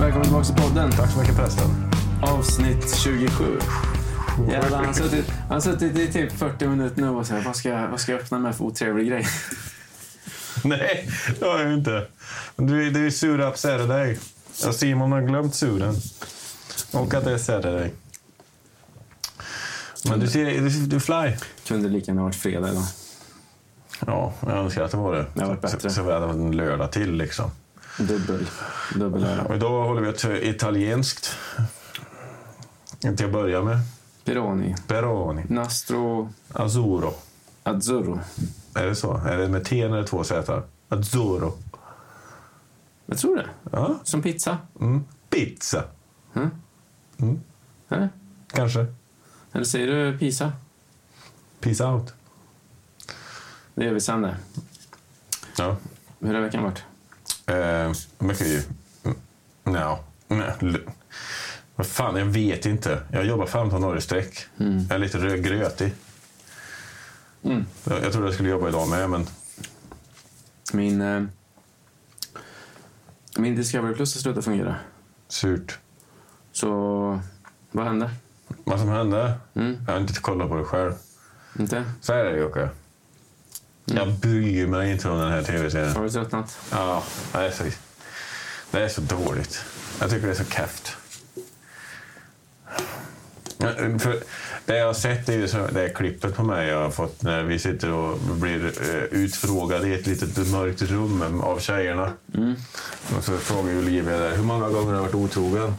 Tillbaks-podden, Tack så mycket förresten. avsnitt 27. Jävlar, han har suttit, han har suttit i typ 40 minuter nu och så här, vad ska, jag- vad ska jag öppna med för otrevlig grej? Nej, det har jag ju inte. Du, det är ju sura Saturday. Ja, Simon har glömt suren. Och att det är Saturday. Men du ser, du, du fly. Kunde lika gärna varit fredag idag. Ja, jag önskar att det var det. Det hade varit bättre. Så, så vi hade haft en lördag till liksom. Dubbel. Dubbel öra. Och idag håller vi ett eh, italienskt. Till att börja med. Pironi. Peroni. Nastro Azzurro. Azzurro. Är det så? Är det med T eller två Z? Azzurro. Jag tror det. Ja. Som pizza. Mm. Pizza. Mm. Mm. Eller? Kanske. Eller säger du pizza? Peace out. Det gör vi sen det. Ja. Hur har veckan varit? Eh, mycket ju... Mm, No. Vad fan, jag vet inte. Jag jobbar 15 år i sträck. Jag är lite rö- grötig. Mm. Jag, jag trodde jag skulle jobba idag med, men... Min... Eh, min Discovery Plus har slutat fungera. Surt. Så... Vad hände? Vad som hände? Mm. Jag har inte kollat på det själv. Inte? Så här är det, Jocke. Jag bryr mig inte om den här tv-serien. Har du tröttnat? Ja, det är så, det är så dåligt. Jag tycker det är så kefft. Men, För det jag har sett är ju så, det här klippet på mig jag har fått när vi sitter och blir eh, utfrågade i ett litet mörkt rum av tjejerna. Och så frågar ju Olivia där, hur många gånger har du varit otrogen?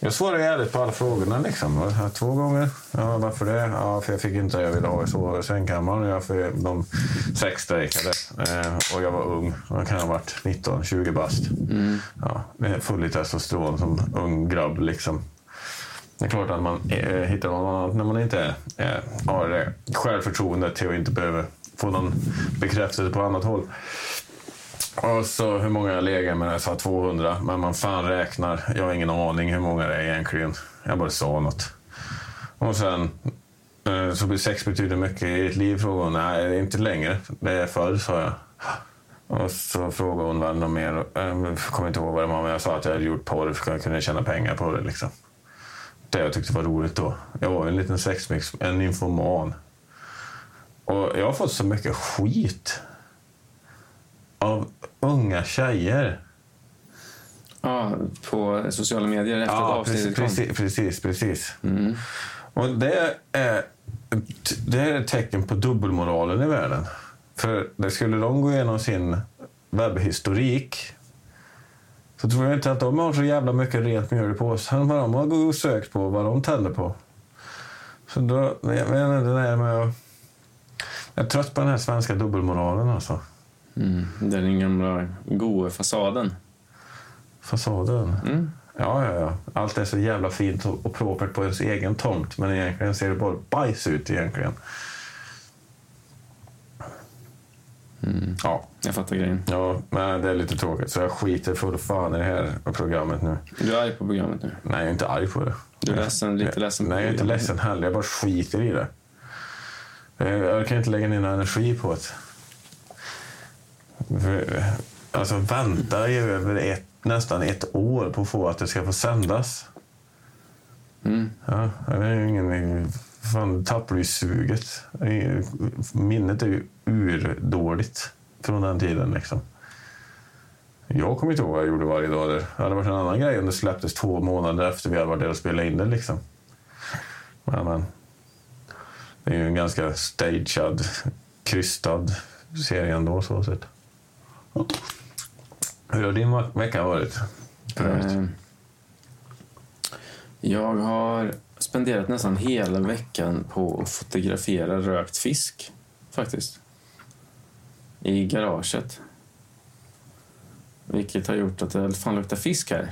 Jag svarar ju ärligt på alla frågorna. Liksom. va? Ja, Två gånger. Ja, varför det? Ja, för jag fick inte det jag ville ha. Jag sov i sängkammaren. Jag för de sex strejkade. Eh, och jag var ung. Jag kan ha varit 19, 20 bast. Ja, med full i testosteron som ung grabb. Liksom. Det är klart att man eh, hittar någon annan när man inte eh, har eh, självförtroende till att inte behöva få någon bekräftelse på annat håll. Och så hur många jag legat med, jag sa 200. Men man fan räknar. Jag har ingen aning hur många det är egentligen. Jag bara sa något. Och sen eh, så blir sex betyder mycket i ditt liv, frågade hon. Nej, det är inte längre. Det är förr, sa jag. Och så frågade hon vad något mer. Ehm, Jag kommer inte ihåg vad det var, men jag sa att jag hade gjort porr för att jag kunde tjäna pengar på det. Liksom. Det jag tyckte var roligt då. Jag var ju en liten sexmix, en infoman. Och jag har fått så mycket skit av unga tjejer. Ja, på sociala medier efter att avsnittet kom. Mm, precis, precis, precis. Och det är, det är ett tecken på dubbelmoralen i världen. För det skulle de gå igenom sin webbhistorik så tror jag inte att de har så jävla mycket rent mjöl i påsen vad de har gått och sökt på, vad de tänder på. Så då, jag menar det där med att... Jag är trött på den här svenska dubbelmoralen alltså. Mm. Det är den gamla goa fasaden. Fasaden. Mm. Ja, ja, ja. Allt är så jävla fint och och propert på ens egen tomt. Men egentligen ser det bara bajs ut egentligen. Ja, Jag fattar grejen. ja, men det är lite tråkigt. Så jag skiter full fan i det här programmet nu. Du är arg på programmet nu. Nej, jag är inte arg på det. Du är ledsen, lite ledsen på Nej, jag är inte programmet. ledsen heller. Jag bara skiter i det. Jag jag kan inte lägga ner någon energi på det. För- Alltså vänta i över ett, nästan ett år på att få att det ska få sändas. Mm. Ja, det är ju ingen... Fan, du tappar ju suget. Det är ju- Minnet är ju urdåligt från den tiden. Liksom. Jag kommer inte ihåg vad jag gjorde varje dag. Där. Det hade varit en annan grej om det släpptes två månader efter vi hade varit där och spelat in det. Liksom. Men, men, det är ju en ganska stagead, krystad serie ändå. Så sett. Hur har din ve- vecka varit? För övrigt? Eh, Jag har spenderat nästan hela veckan på att fotografera rökt fisk, faktiskt. I garaget. Vilket har gjort att det fan luktar fisk här.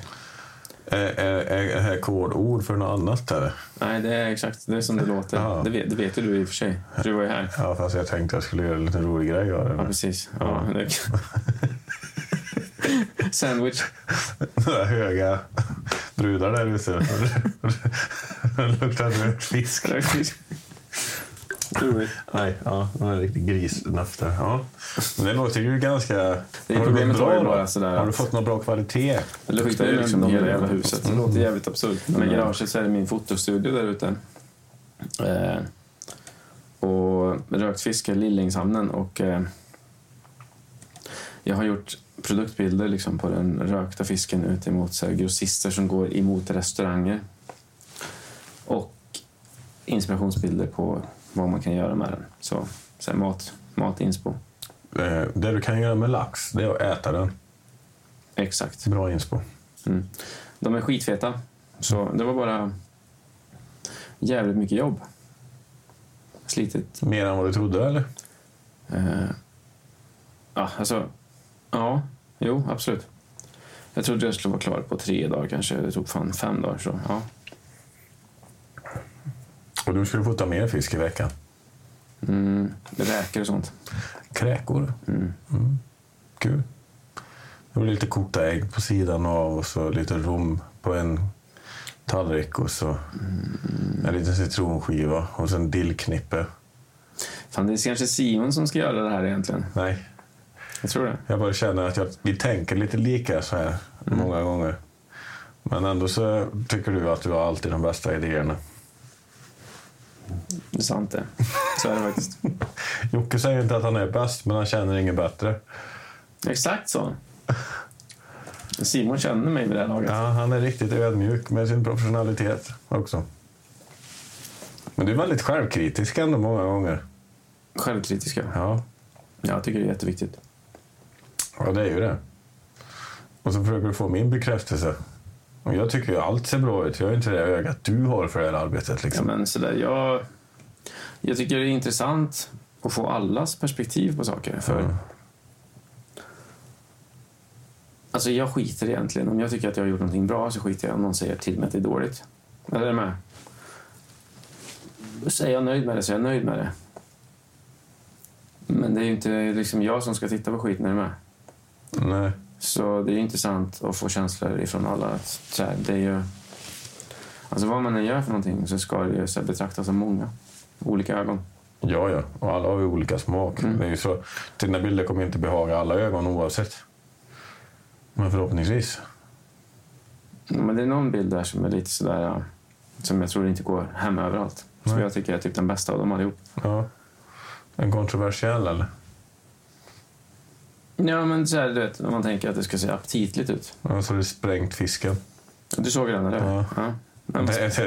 Är, är, är det här kodord för något annat? Eller? Nej, det är exakt det är som det låter. Ja. Det, vet, det vet ju du i och för sig. Du var ju här. Ja, fast jag tänkte jag skulle göra en liten rolig grej av det. Ja, men- precis. Ja, det Sandwich. Några höga brudar där ute. Det luktar rökt fisk. Rökt fisk. Roligt. Nej, ja, det var en riktig grisnaff där. Ja. Men det låter ju ganska... Det är Har gått problemet var ju då? bara sådär Har du att- fått någon bra kvalitet? Det luktar ju liksom hela jävla huset. Det låter jävligt absurt. Men i garaget så är det min fotostudio där ute. Eh, och rökt fisk är Lillingshamnen och eh, jag har gjort produktbilder liksom på den rökta fisken ut emot så här, grossister som går emot restauranger. Och inspirationsbilder på vad man kan göra med den. Så, så här, mat, matinspo. Eh, Det du kan göra med lax, det är att äta den. Exakt. Bra inspo. Mm. De är skitfeta. Så det var bara jävligt mycket jobb. Slitigt. Mer än vad du trodde, eller? Eh, ja, alltså. Ja, jo, absolut. Jag trodde jag skulle vara klar på tre dagar kanske. Det tog fan fem dagar. Så, ja. Och du skulle få ta mer fisk i veckan. mm, räkor och sånt. Kräkor. Mm. Kul. Det blir lite kokta ägg på sidan av och så lite rom på en tallrik och så Mm. en liten citronskiva och sen dillknippe. Fan, det är kanske Simon som ska göra det här egentligen. Nej, Jag tror det. jag bara känner att jag, vi tänker lite lika så här många gånger. Men ändå så tycker du att du har alltid de bästa idéerna. Det är sant det. Så är det faktiskt. Jocke säger inte att han är bäst, men han känner inget bättre. Exakt så. Simon känner mig vid det här laget. Ja, han är riktigt ödmjuk med sin professionalitet också. Men du är väldigt självkritisk ändå många gånger. Självkritiska. Ja, Jag tycker det är jätteviktigt. ja det är ju det. Och så försöker du få min bekräftelse. Och jag tycker ju allt ser bra ut. Jag är inte det ögat du har för det här arbetet. Ja, Liksom. men sådär, jag, jag tycker det är intressant att få allas perspektiv på saker. För, Mm. Alltså jag skiter egentligen. Om jag tycker att jag har gjort någonting bra så skiter jag om någon säger till mig att det är dåligt. Eller är du med? Så är jag nöjd med det så är jag nöjd med det. Men det är ju inte liksom jag som ska titta på skiten, är du med? Nej. Så det är ju intressant att få känslor ifrån alla. att Så här, det är ju, alltså vad man än gör för någonting så ska det ju så här betraktas av många. Olika ögon. Ja, ja. Och alla har ju olika smak. Mm. Det är ju så. Dina bilder kommer inte behaga alla ögon oavsett. Men förhoppningsvis. Ja, Men det är någon bild där som är lite sådär ja, som jag tror inte går hem överallt. Som Nej. jag tycker är typ den bästa av dem allihop. Ja. En kontroversiell eller? Ja men så här, du vet, om man tänker att det ska se aptitligt ut. Alltså det är sprängt fisken. Du såg den eller hur? Ja. Men, Det, det, det,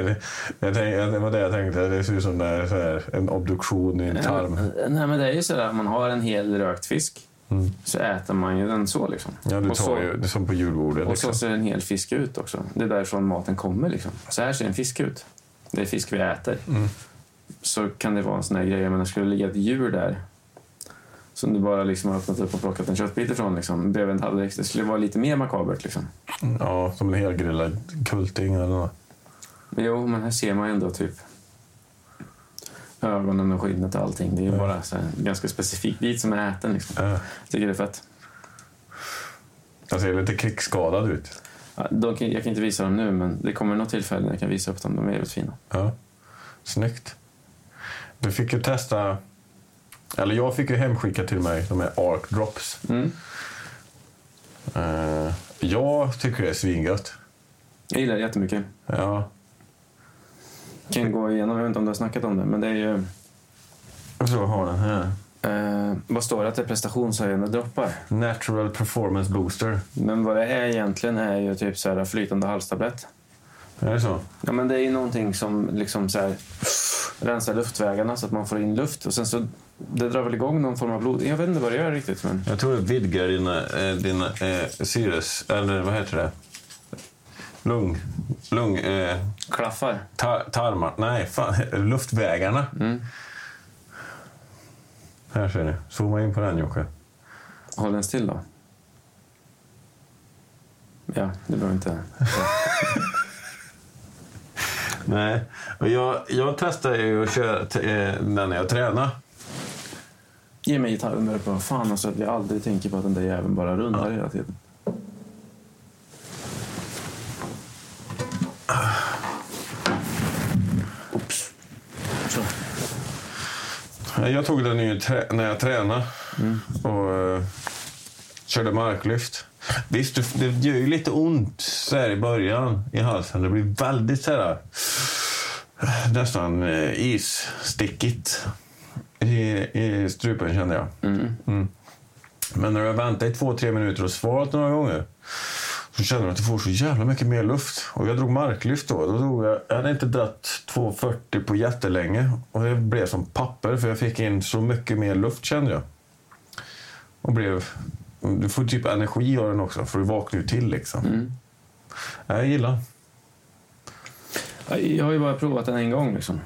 jag tänkte, det var det jag tänkte. Det ser ut som det är så här, en obduktion i en tarm. Nej men det är ju sådär, om man har en hel rökt fisk Mm. så äter man ju den så liksom. Ja, du Och så- tar ju det är som på julbordet. Och så Liksom. ser en hel fisk ut också. Det är därifrån maten kommer. Liksom. Så här ser en fisk ut. Det är fisk vi äter. Mm. Så kan det vara en sån här grej. Men skulle det ligga ett djur där som du bara liksom har öppnat upp och plockat en köttbit ifrån liksom, bredvid en tallrik. Det skulle vara lite mer makabert. Liksom. Ja, som en helgrillad kulting eller något. Men jo, men här ser man ju ändå typ ögonen och skinnet och allting. Det är ju Ja. bara så här, en ganska specifik bit som är äten. Liksom. Äh, Jag tycker det är fett. jag ser lite krigsskadad ut. Ja, De kan, jag kan inte visa dem nu, men det kommer något tillfälle när jag kan visa upp dem. De är jävligt fina. Ja. Snyggt. Du fick ju testa... Eller jag fick ju hemskicka till mig de här arc drops. Mm. Eh, jag tycker det är svingött. Jag gillar det jättemycket. Ja. kan gå igenom, jag vet inte om du har snackat om det, men det är ju... Så har den här. Eh, vad står det att det är prestationshöjande droppar? Natural performance booster. Men vad det är egentligen är ju typ så här flytande halstablett. Är det så? Ja, men det är ju någonting som liksom så här rensar luftvägarna så att man får in luft och sen så det drar väl igång någon form av blod. Jag vet inte vad det gör riktigt, men Jag tror det vidgar dina, eh, dina eh, syres... Eller vad heter det? Lung... Lung... Eh, klaffar. tar, tarmar... Nej, fan. Luftvägarna. Mm. Här ser ni. Zooma in på den, Jocke. Håll den still då. Ja, det behöver inte... Nej. Och jag, jag testar ju att köra t- eh, den när jag tränar. Ge mig gitarren där uppe. Fan alltså att jag aldrig tänker på att den där jäveln bara rundar hela tiden. Oops. Så. Jag tog den ju trä- när jag tränade och eh, körde marklyft. Visst, du- det gör ju lite ont så här i början i halsen. Det blir väldigt så här, nästan eh, isstickigt i, i strupen kände jag. Mm. Men när du har väntat i två, tre minuter och svarat några gånger så känner du att du får så jävla mycket mer luft. Och jag drog marklyft då. då drog jag, jag hade inte dratt 2,40 på jättelänge. Och det blev som papper för jag fick in så mycket mer luft kände jag. Och blev... Du får typ energi av den också för du vaknar ju till liksom. Mm. Jag gillar. Jag har ju bara provat den en gång. Liksom.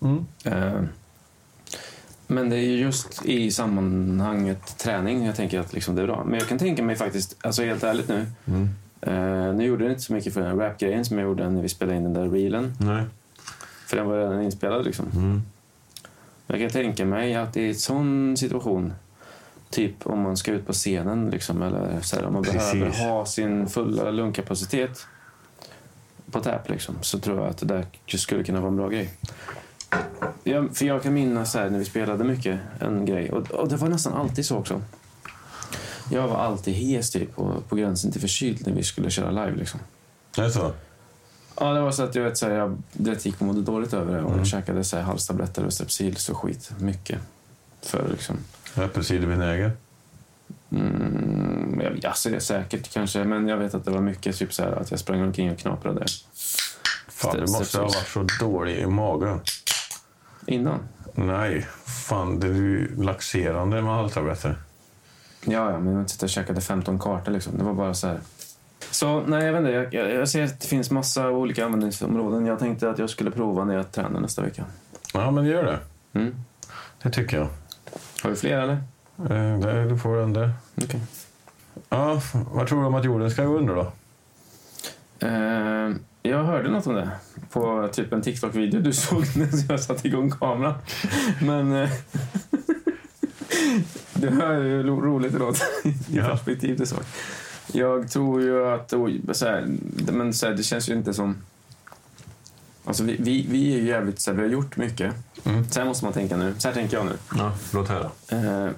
Mm. Eh, Men det är ju just i sammanhanget träning jag tänker att liksom det är bra. Men jag kan tänka mig faktiskt, alltså helt ärligt nu. Mm. eh, nu gjorde det inte så mycket för den rap-grejen som jag gjorde när vi spelade in den där reelen. Nej. För den var redan inspelad liksom. Mm. Jag kan tänka mig att i en sån situation, typ om man ska ut på scenen liksom, eller så här, om man Precis. behöver ha sin fulla lungkapacitet på tap liksom, så tror jag att det där skulle kunna vara en bra grej. Jag, för jag kan minnas så här, när vi spelade mycket en grej och, och det var nästan alltid så också. Jag var alltid hes typ och på gränsen till förkyld när vi skulle köra live liksom. Det är så? Ja, det var så att jag, vet, så här, jag det gick och mådde dåligt över det. Och Jag käkade så här, halstabletter och Strepsil så skit mycket. För liksom... Äppelcidervinäger? Mm, jag, alltså, det är säkert kanske, men jag vet att det var mycket typ så här, att jag sprang omkring och knaprade Fan, du Strepsils. måste ha varit så dålig i magen. innan. Nej, fan det är ju laxerande med halstabletter. Ja, ja, men jag satt och käkade 15 kartor liksom. Det var bara så här. Så nej, jag vet inte. Jag, jag, jag ser att det finns massa olika användningsområden. Jag tänkte att jag skulle prova när jag tränar nästa vecka. Ja, men gör det. Mm. Det tycker jag. Har du fler eller? Eh, där, du får den där. Okej. Ja, vad tror du om att jorden ska gå under då? Eh, jag hörde något om det på typ en TikTok-video du såg när jag satte igång kameran. Men eh, det här är ju ro- roligt det låter i Ja. perspektiv det såg. Jag tror ju att oj, så här, men så här, det känns ju inte som... Alltså vi, vi, vi är ju jävligt så här, vi har gjort mycket. Mm. Så här måste man tänka nu. Så här tänker jag nu. Ja, låt höra. Eh,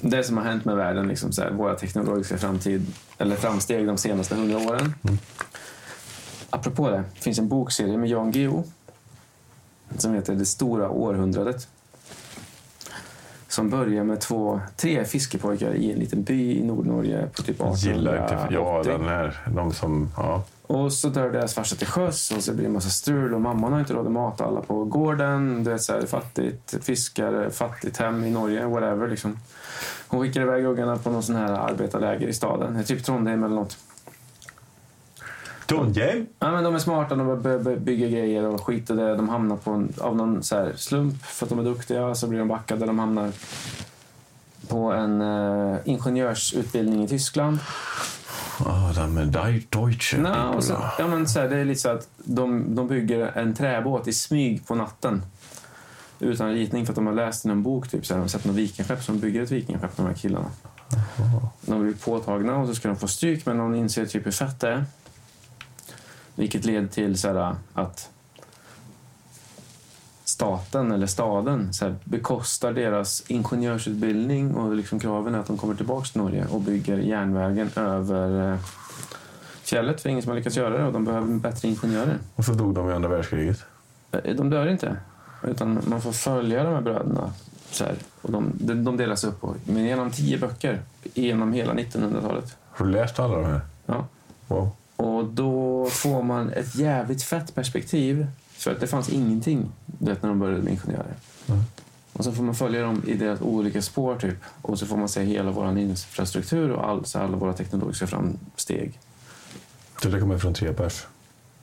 det som har hänt med världen, liksom så här, våra teknologiska framtid, eller framsteg de senaste hundra åren. Apropå det, det finns en bokserie med Jan Guillou som heter Det stora århundradet. Som börjar med två, tre fiskepojkar i en liten by i Nordnorge på typ Gillar inte... 1880. Ja, den här. De som... Ja. Och så dör deras farsa till sjöss och så blir det en massa strul och mamman har inte råd att mata alla på gården. Det är så här fattigt fiskare, fattigt hem i Norge, whatever liksom. Hon skickar iväg ungarna på någon sån här arbetarläger i staden. Det är Typ Trondheim eller något. Trondheim? Ja, men de är smarta, de börjar by- bygga grejer och skit och det. De hamnar på en, av någon så här slump för att de är duktiga. Så blir de backade. De hamnar på en eh, ingenjörsutbildning i Tyskland. Ja, den med Die Deutsche. Nej, och sen, ja, men så här, det är lite så att de, de bygger en träbåt i smyg på natten. Utan ritning för att de har läst i någon bok. Typ, så här, de har sett något vikingskepp som bygger ett vikingskepp, de här killarna. De blir påtagna och så ska de få stryk men någon inser typ hur fett det är. Vilket leder till så här, att staten eller staden så här, bekostar deras ingenjörsutbildning och liksom kraven är att de kommer tillbaka till Norge och bygger järnvägen över eh, fjället för ingen som har lyckats göra det och de behöver bättre ingenjörer. Och så dog de i andra världskriget. Eh, De dör inte, utan man får följa de här bröderna. Så här, och de, de de delas upp på, men genom tio böcker genom hela 1900-talet. Har du läst alla de här? Ja. Wow. Och då får man ett jävligt fett perspektiv. För att det fanns ingenting du vet, när de började med ingenjörer. Mm. Och så får man följa dem i deras olika spår typ. Och så får man se hela vår infrastruktur och all, så alla våra teknologiska framsteg. Så det kommer från tre pers.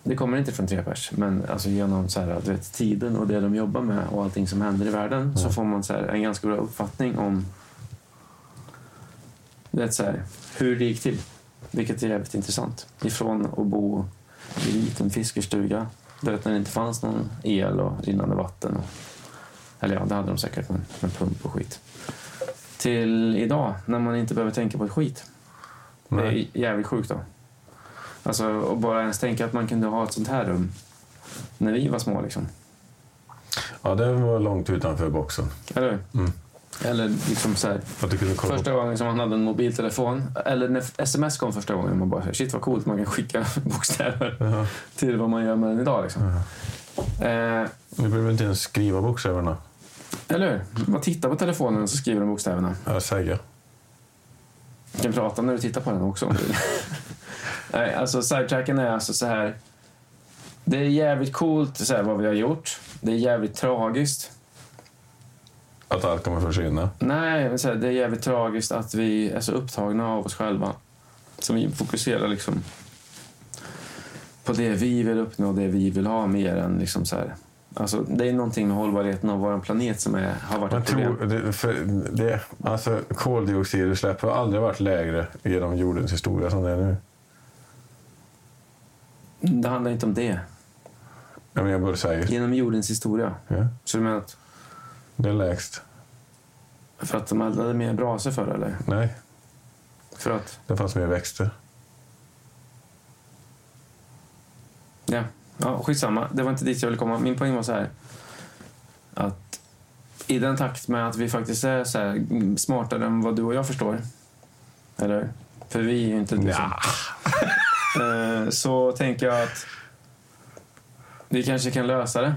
Det kommer inte från tre pers, men alltså genom så här, du vet, tiden och det de jobbar med och allting som händer i världen så får man så här, en ganska bra uppfattning om du vet, så här, hur det gick till. Vilket är jävligt intressant. Ifrån att bo i en liten fiskestuga du vet, när det inte fanns någon el och rinnande vatten. Och, eller ja, det hade de säkert, men med pump och skit. Till idag, när man inte behöver tänka på ett skit. Det Nej. är jävligt sjukt då. Alltså, och bara ens tänka att man kunde ha ett sånt här rum när vi var små. Liksom. Ja, det var långt utanför boxen. Eller hur? Mm. Eller liksom så här, Att du kunde kolla första gången som man hade en mobiltelefon, eller när sms kom första gången, man bara så här, shit vad coolt, man kan skicka bokstäver på... Ja. till vad man gör med den idag. Liksom. Eh, Nu Mm. behöver du inte ens skriva bokstäverna. eller hur? Man tittar på telefonen och så skriver den bokstäverna. Ja, Sega. Du kan prata när du tittar på den också. om du vill. Nej, alltså sidetracken är alltså så här. Det är jävligt coolt så här, vad vi har gjort. Det är jävligt tragiskt. Att allt kommer försvinna. Nej, men så här, det är jävligt tragiskt att vi är så upptagna av oss själva. Så vi fokuserar liksom på det vi vill uppnå och det vi vill ha mer än liksom så här. Alltså, det är någonting med hållbarheten av vår planet som är, har varit Man ett problem. tror, det, för det, alltså, koldioxidutsläpp har aldrig varit lägre genom jordens historia som det är nu. Det handlar inte om det. Ja, men jag borde säga Genom jordens historia. ja, Så du menar att det är lägst. för att de eldade mer brasor förr eller? Nej, För att, det fanns mer växter. ja. ja, skitsamma. Det var inte dit jag ville komma. Min poäng var så här. Att i den takt med att vi faktiskt är så här mm, smartare än vad du och jag förstår. Eller? För vi är ju inte liksom. Nja. Eh, Så tänker jag att vi kanske kan lösa det.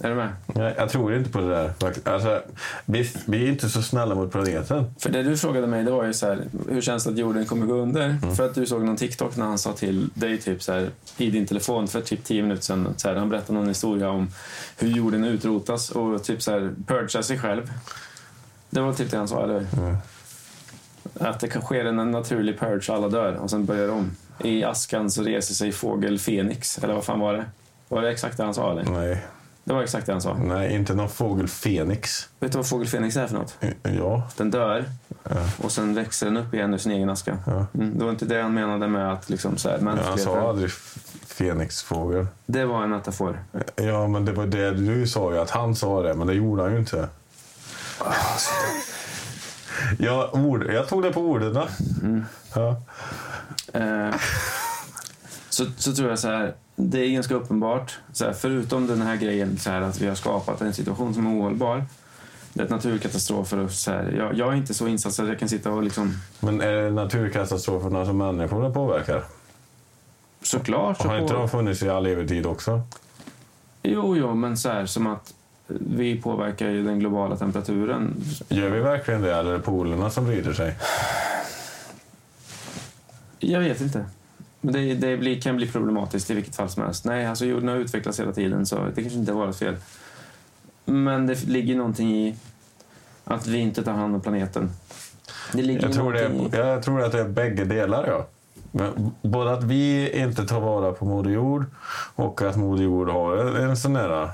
Är du med? Nej, jag tror inte på det där. faktiskt. Alltså, vi, vi är inte så snälla mot planeten. För det du frågade mig det var ju så här, hur känns det att jorden kommer gå under? För att du såg någon TikTok när han sa till dig typ så här, i din telefon för typ 10 minuter sedan. Så här, han berättade någon historia om hur jorden utrotas och typ så här, purgar sig själv. Det var typ det han sa, eller hur? Mm. Att det kan ske en naturlig purge, alla dör och sen börjar om. I askan så reser sig fågel Fenix, eller vad fan var det? Var det exakt det han sa? Eller? Nej, Det var exakt det han sa. nej, inte någon fågel Fenix. Vet du vad fågel Fenix är för något? Ja, Den dör Ja. och sen växer den upp igen ur sin egen aska. ja. Mm, det var inte det han menade med att liksom så här, Ja, han mänskligheten. sa aldrig f- Fenixfågel. det var en metafor. Ja, men det var det du sa ju, att han sa det, men det gjorde han ju inte. Ja, ord, jag tog det på orden. Mm. Ja. Eh, så, så tror jag så här, det är ganska uppenbart, så här, förutom den här grejen så här, att vi har skapat en situation som är ohållbar. Det är ett naturkatastrof för oss. Så här. Jag, jag är inte så insatt så att jag kan sitta och liksom... Men är det naturkatastroferna som människorna påverkar? Såklart så Har inte på- de funnits i all evig tid också? Jo, jo, men så här som att vi påverkar ju den globala temperaturen. Gör vi verkligen det, eller är det polerna som bryter sig? Jag vet inte. Men det, det blir, kan bli problematiskt i vilket fall som helst. Nej, alltså jorden har utvecklats hela tiden så det kanske inte har varit fel. Men det ligger någonting i att vi inte tar hand om planeten. Det ligger Jag tror, det någonting är, jag tror att det är bägge delar. Ja. Men både att vi inte tar vara på Moder Jord och att Moder Jord har en, en sån där...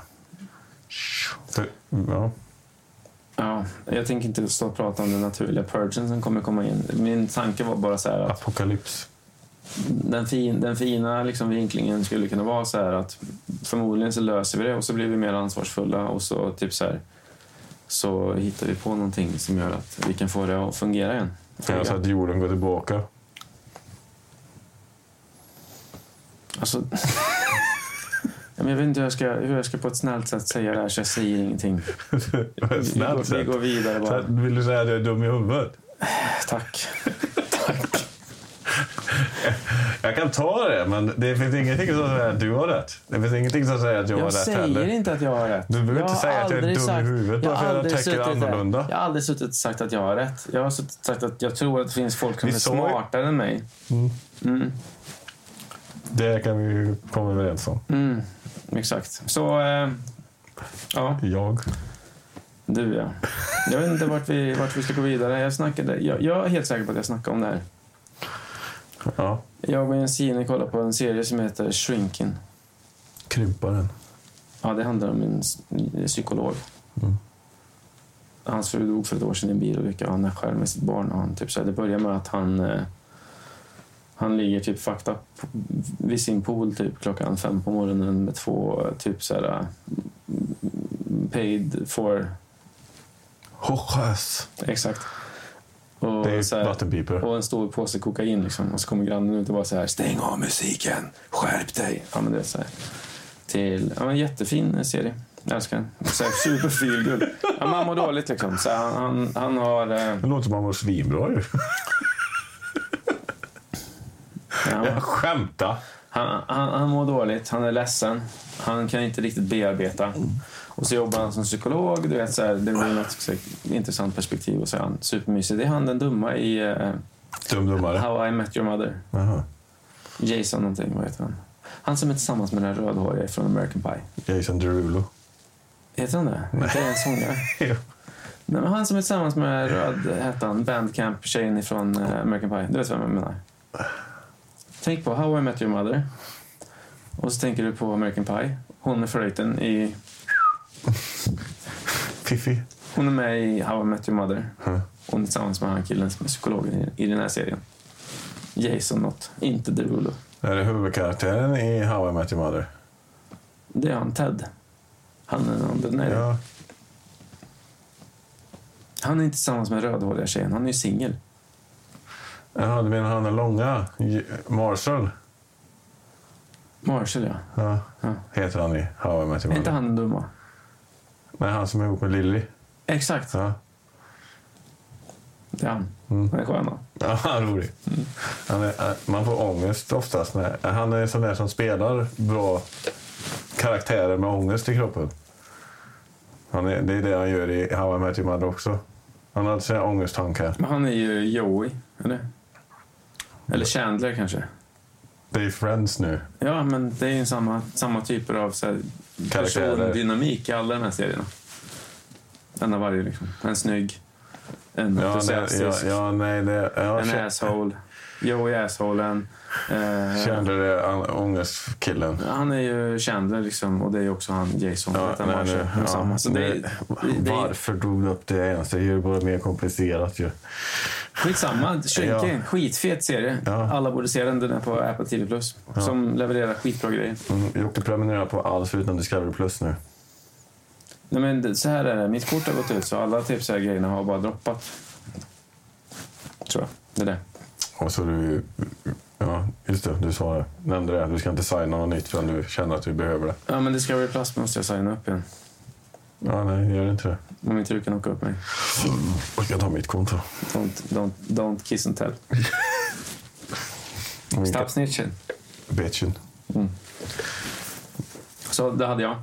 För- Ja. Ja, jag tänker inte stå och prata om den naturliga purgen som kommer komma in. Min tanke var bara så här att Apokalyps. den, fin, den fina liksom vinklingen skulle kunna vara så här att förmodligen så löser vi det och så blir vi mer ansvarsfulla och så typ så här så hittar vi på någonting som gör att vi kan få det att fungera igen. Alltså att jorden går tillbaka. Alltså... Ja, men Jag vet inte hur jag, ska, hur jag ska på ett snällt sätt säga det här så jag säger ingenting. På ett Vi går, snällt vi sätt. går vidare Så bara. att- Vill du säga att jag är dum i huvudet? Tack. Jag kan ta det, men det finns ingenting som säger att du har rätt. Det finns ingenting som säger att jag, har Jag rätt säger heller. inte att jag har rätt. Du behöver Jag inte har säga att jag är aldrig dum i huvudet har bara för att jag aldrig tänker suttit där. annorlunda. Jag har aldrig suttit och sagt att jag har rätt. Jag har suttit och sagt att jag tror att det finns folk som Vi är sa ju- smartare än mig. Mm. Det kan vi ju komma överens om. Mm. Exakt. Så, eh, ja. Jag. Du ja. Jag vet inte vart vi, vart vi ska gå vidare. Jag, snackade, jag, jag är helt säker på att jag snackade om det här. Ja. Jag och Jensine kollar på en serie som heter Shrinking. Krymparen. Ja, det handlar om en s- en psykolog. Mm. Hans fru dog för ett år sedan i en bilolycka och han är själv med sitt barn. Och han, typ, så här, det börjar med att han, eh, han ligger typ fucked up vid sin pool typ, klockan fem på morgonen med två eh, typ så här, mm, paid for... Hochas. Exakt. Och, Det är så ju här, vattenpipor. och en stor påse kokain liksom. Och så kommer grannen ut och bara så här Stäng av musiken! Skärp dig! Ja men det är så här. Till, ja men jättefin serie. Jag älskar den. Så här, super feelgood. Ja, man mår dåligt liksom. Så han, han, han har... Eh, Det låter som han var svinbra ju. ja, Jag skämtar. han, han, han mår dåligt, han är ledsen, han kan inte riktigt bearbeta. Och så jobbar han som psykolog. Du vet, så här, det blir något så här, intressant perspektiv. Och så är han supermysig. Det är han den dumma i eh, Dumdummare. How I Met Your Mother. Jaha. Jason någonting, vad heter han? Han som är tillsammans med den rödhåriga från American Pie. Jason Derulo. Heter han det? Nej. Det är en sångare. Ja. Nej, men han som är tillsammans med röd, hette han, Bandcamp-tjejen ifrån eh, American Pie. Du vet vem jag menar. Tänk på How I Met Your Mother. Och så tänker du på American Pie. Hon är flöjten i... Fiffi. Hon är med i How I Met Your Mother. Mm. Hon är tillsammans med han killen som är psykologen i, i den här serien. Jason något, inte Derulo. Är det huvudkaraktären i How I Met Your Mother? Det är han Ted. Han är någon, nej, Ja. Han är inte tillsammans med rödhåriga tjejen, han är ju singel. Jaha, du menar han den långa? J- Marshall? Marshall ja. Ja. Ja. Heter han i How I Met Your Är inte Mother? han den dumma? Nej, han som är ihop med Lilly. Exakt, Ja. det är han. Mm. Han är skön han. Ja, han är rolig. Mm. Han är, eh, man får ångest oftast. När, han är en sån där som spelar bra karaktärer med ångest i kroppen. Han är, det är det han gör i How I Met Your Mother också. Han har sina ångesttankar. Men han är ju Joey, eller? Eller Chandler kanske. Det är Friends nu. Ja, men det är ju samma, samma typer av så här, Karaktärer. persondynamik i alla de här serierna. En av varje liksom. En snygg, en Ja, det, entusiastisk, ja, ja, nej, det, ja, en Ch- asshole. Joey är assholen. Eh, Chandler är an- ångestkillen. Han är ju Chandler liksom, och det är ju också han Jason. Ja, att han nej, var nej, så- ja, samma. Så det, det- är- det är Varför drog du upp det ens? Det gör det bara mer komplicerat ju. skitsamma. Shrinking, Ja. skitfet serie. Ja. Alla borde se den. Den är på Apple TV+. Plus Som levererar skitbra grejer. Mm, Jocke prenumererar på allt förutom Discovery Plus nu. Nej, men det- så här är det. Mitt kort har gått ut så alla tips här grejerna har bara droppat. Tror jag. Det är det. Och så du... Ja, just det. Du sa det. Nämnde det. Du ska inte signa något nytt förrän du känner att du behöver det. Ja, men Discovery Plus måste jag signa upp igen. Ja, nej, gör inte det. Om inte du kan åka upp mig. Jag ska ta mitt konto. Don't, don't, don't kiss and tell. Min Stop snitchen. Bitchen. Så det hade jag.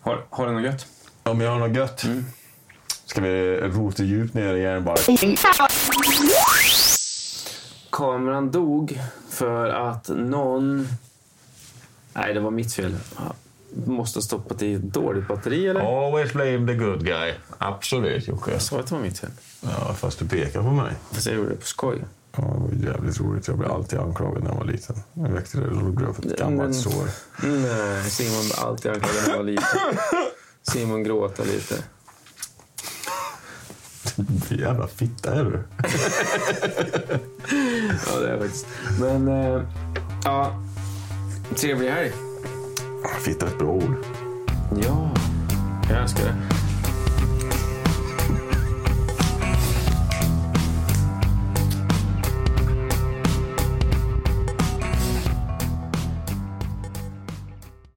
Har, har du något gött? Om jag har något gött. Ska vi rota djupt ner i järnbarken? kameran dog för att någon... Nej, det var mitt fel. Ja, Måste ha stoppat i ett dåligt batteri, eller? Always blame the good guy. Absolut, Jocke. Jag sa att det var mitt fel. Ja, fast du pekar på mig. Fast jag gjorde det på skoj. Ja, det var ju jävligt roligt. Jag blev alltid anklagad när jag var liten. Jag väckte det och drog upp ett gammalt sår. Nej, Simon blir alltid anklagad när jag var liten. Simon gråter lite. Jävla fitta är du. Ja, det är jag faktiskt. Men, eh, ja. Trevlig helg. Fitta är ett bra ord. Ja, jag älskar det.